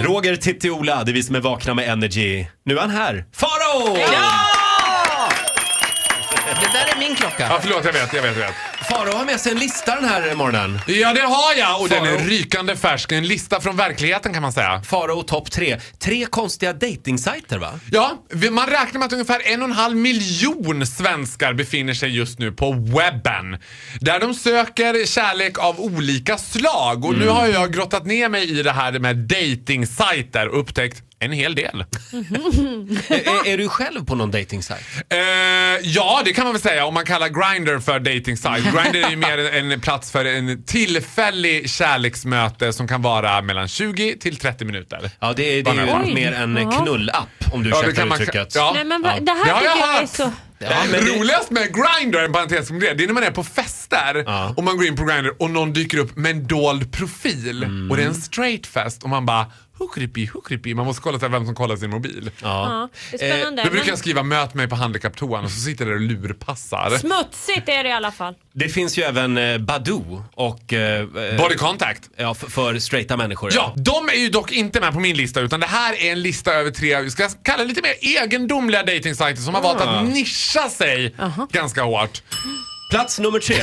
Roger, Titti, Ola, det är vi som är vakna med Energy. Nu är han här. Farao! Det där är min Ja, klocka. förlåt, jag vet, jag vet, jag vet. Farao har med sig en lista den här morgonen. Ja, det har jag! Och den är Faro. rykande färsk. En lista från verkligheten kan man säga. Farao topp tre. Tre konstiga dejtingsajter va? Ja, vi- man räknar med att ungefär en och en halv miljon svenskar befinner sig just nu på webben. Där de söker kärlek av olika slag. Och nu har jag grottat ner mig i det här med dejtingsajter och upptäckt en hel del. är, är du själv på någon dejtingsajt? Eh, ja, det kan man väl säga om man kallar Grindr för dating site. Grindr är ju mer en plats för en tillfällig kärleksmöte som kan vara mellan 20 till 30 minuter. Ja, det är, det är ju Oj. mer en Ja. knullapp om du Ja, det ursäktar kan man- uttrycket. ja. Nej men va, Ja. det här Det har jag tycker jag är hört. så... Ja, men det- Roligast med Grindr, en parentes om det, det är när man är på fester Ja. och man går in på Grindr och någon dyker upp med en dold profil Mm. och det är en straight fest och man bara "Who could it be, who could it be?" Man måste kolla så här vem som kollar sin mobil. Ja, det är Eh, spännande. Då brukar men jag skriva möt mig på handikapptoan och så sitter jag där och lurpassar. Smutsigt är det i alla fall. Det finns ju även eh, Badoo och... eh, eh, Body contact. ja, för, för straighta människor. Ja, de är ju dock inte med på min lista utan det här är en lista över tre, vi ska kalla det lite mer egendomliga datingsajter som har valt Ah. att nischa sig ganska hårt. Plats nummer tre.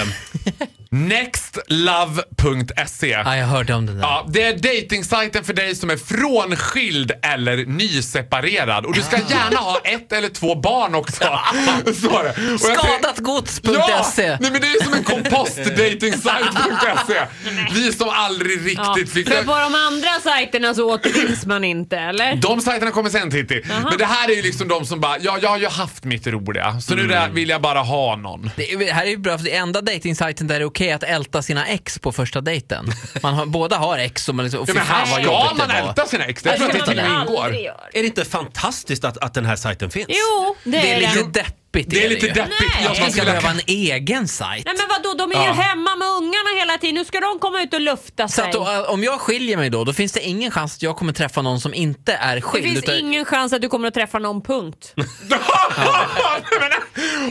Nextlove.se Ja, Ah, jag hörde om den där. Ja, det är dejtingsajten för dig som är frånskild eller nyseparerad. Och du ska gärna ha ett eller två barn också. Så är det. Och jag tänker- Ja, Skadatgods.se. nej men det är som en kompostdatingsajt.se. E. Vi som aldrig riktigt Ja. fick... För på de andra sajterna så återfinns man inte, eller? De sajterna kommer sen Titti. Men det här är ju liksom de som bara, ja jag har ju haft mitt roliga. Så nu där vill jag bara ha någon. Det är- det här är ju bra, för det är enda dejtingsajten där det är okej att älta sina ex på första dejten. Man har, båda har ex och man liksom, och Ja, fy men här fan vad ska jobbigt man det var. älta sina ex. Det tror jag ska att det till och med man väl ingår. aldrig göra. Är det inte fantastiskt att, att den här sajten finns? Jo, det, Det är lite det. deppigt. Det är lite ju. deppigt. Nej. Jag skulle Man inte ska vilja behöva en egen sajt. Nej men vadå, de är ju Ja. hemma med ungarna hela tiden. Nu ska de komma ut och lufta Så sig. att då, eh, om jag skiljer mig då, då finns det ingen chans att jag kommer träffa någon som inte är Det skild. finns utan- ingen chans att du kommer att träffa någon punkt. Men,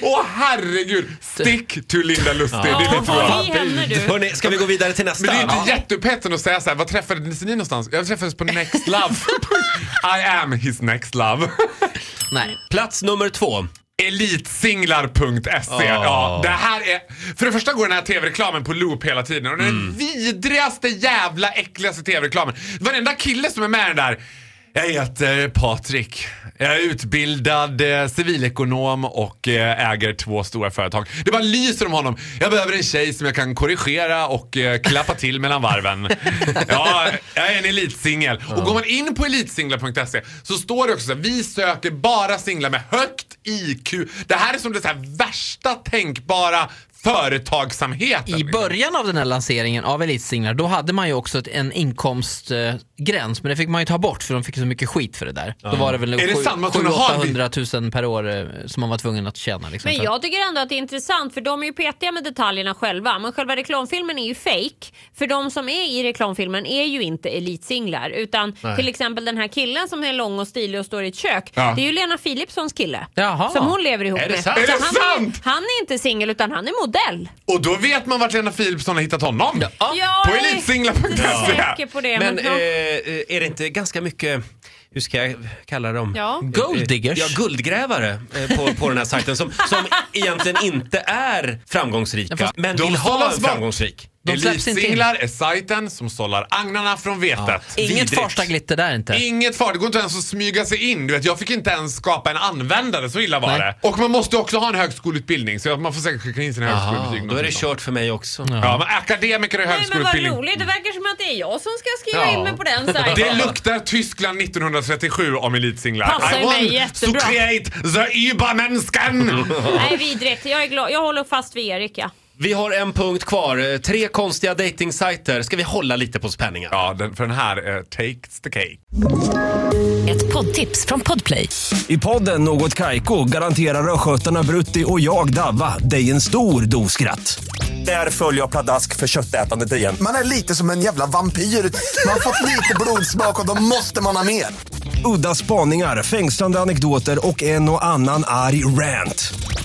Åh herregud! Stick to Linda Lustig. Det är Ja, mitt råd. håll i henne du. Hörrni, ska vi gå vidare till nästa? Men det är inte jätteupphetsande att säga så här. vad träffades ni någonstans? Jag träffades på Next Love. I am his next love. Nej. Plats nummer två. Elitsinglar.se. E. Ja, det här är... För det första går den här tv-reklamen på loop hela tiden och den är den vidrigaste jävla äckligaste tv-reklamen. Varenda kille som är med i den där jag heter Patrik. Jag är utbildad eh, civilekonom och eh, äger två stora företag. Det bara lyser om honom. Jag behöver en tjej som jag kan korrigera och eh, klappa till mellan varven. Ja, jag är en elitsingel. Och går man in på elitsinglar.se så står det också så här, vi söker bara singlar med högt IQ. Det här är som det så här värsta tänkbara företagsamheten. I början av den här lanseringen av Elitsinglar, då hade man ju också ett, en inkomstgräns, men det fick man ju ta bort för de fick så mycket skit för det där. Då var det väl det sju- sant? Man sju- kunde ha en 800 000 per år eh, som man var tvungen att tjäna. Liksom, Men för att- jag tycker ändå att det är intressant för de är ju petiga med detaljerna själva. Men själva reklamfilmen är ju fake. För de som är i reklamfilmen är ju inte elitsinglar. Utan till exempel den här killen som är lång och stilig och står i ett kök. Ja. Det är ju Lena Philipssons kille. Jaha. Som hon lever ihop Är det med. sant? Så Är det han, sant? Är, han är inte singel utan han är modell. Och då vet man vart Lena Philipsson har hittat honom. Jag På är elitsinglar.se. inte säker på det. Men, Men eh, ja. är det inte ganska mycket, hur ska jag kalla dem? Eh, Ja. Gold diggers. Ja, guldgrävare eh, på, på den här sajten som, som egentligen inte är framgångsrika, fast men de vill ha sållas en bort. framgångsrik. De släpps inte in. Elitsinglar är sajten som sållar agnarna från vetet. Inget Vidrigt. första glitter där inte. Inget far, det går inte ens att smyga sig in. Du vet, jag fick inte ens skapa en användare, så illa var Nej. det. Och man måste också ha en högskoleutbildning, så man får säkert skicka in sina Ah, högskolebetyg. Då är det någonstans. kört för mig också. Ja, men akademiker och Nej men vad högskoleutbildning. roligt, det verkar som att det är jag som ska skriva Ja. in mig på den sajten. Det luktar Tyskland 1937 om elitsinglar. Passar I ju mig want to jättebra. create the Übermensken! Nej vidrigt, jag är glad. Jag håller fast vid Erika. Vi har en punkt kvar. Eh, Tre konstiga dejtingsajter. Ska vi hålla lite på spänningen? ja, den, för den här eh, takes the cake. Ett poddtips från Podplay. I podden Något Kaiko garanterar östgötarna Brutti och jag, Davva, dig en stor dos skratt. Där följer jag pladask för köttätandet igen. Man är lite som en jävla vampyr. Man har fått lite blodsmak och då måste man ha mer. Udda spaningar, fängslande anekdoter och en och annan arg rant.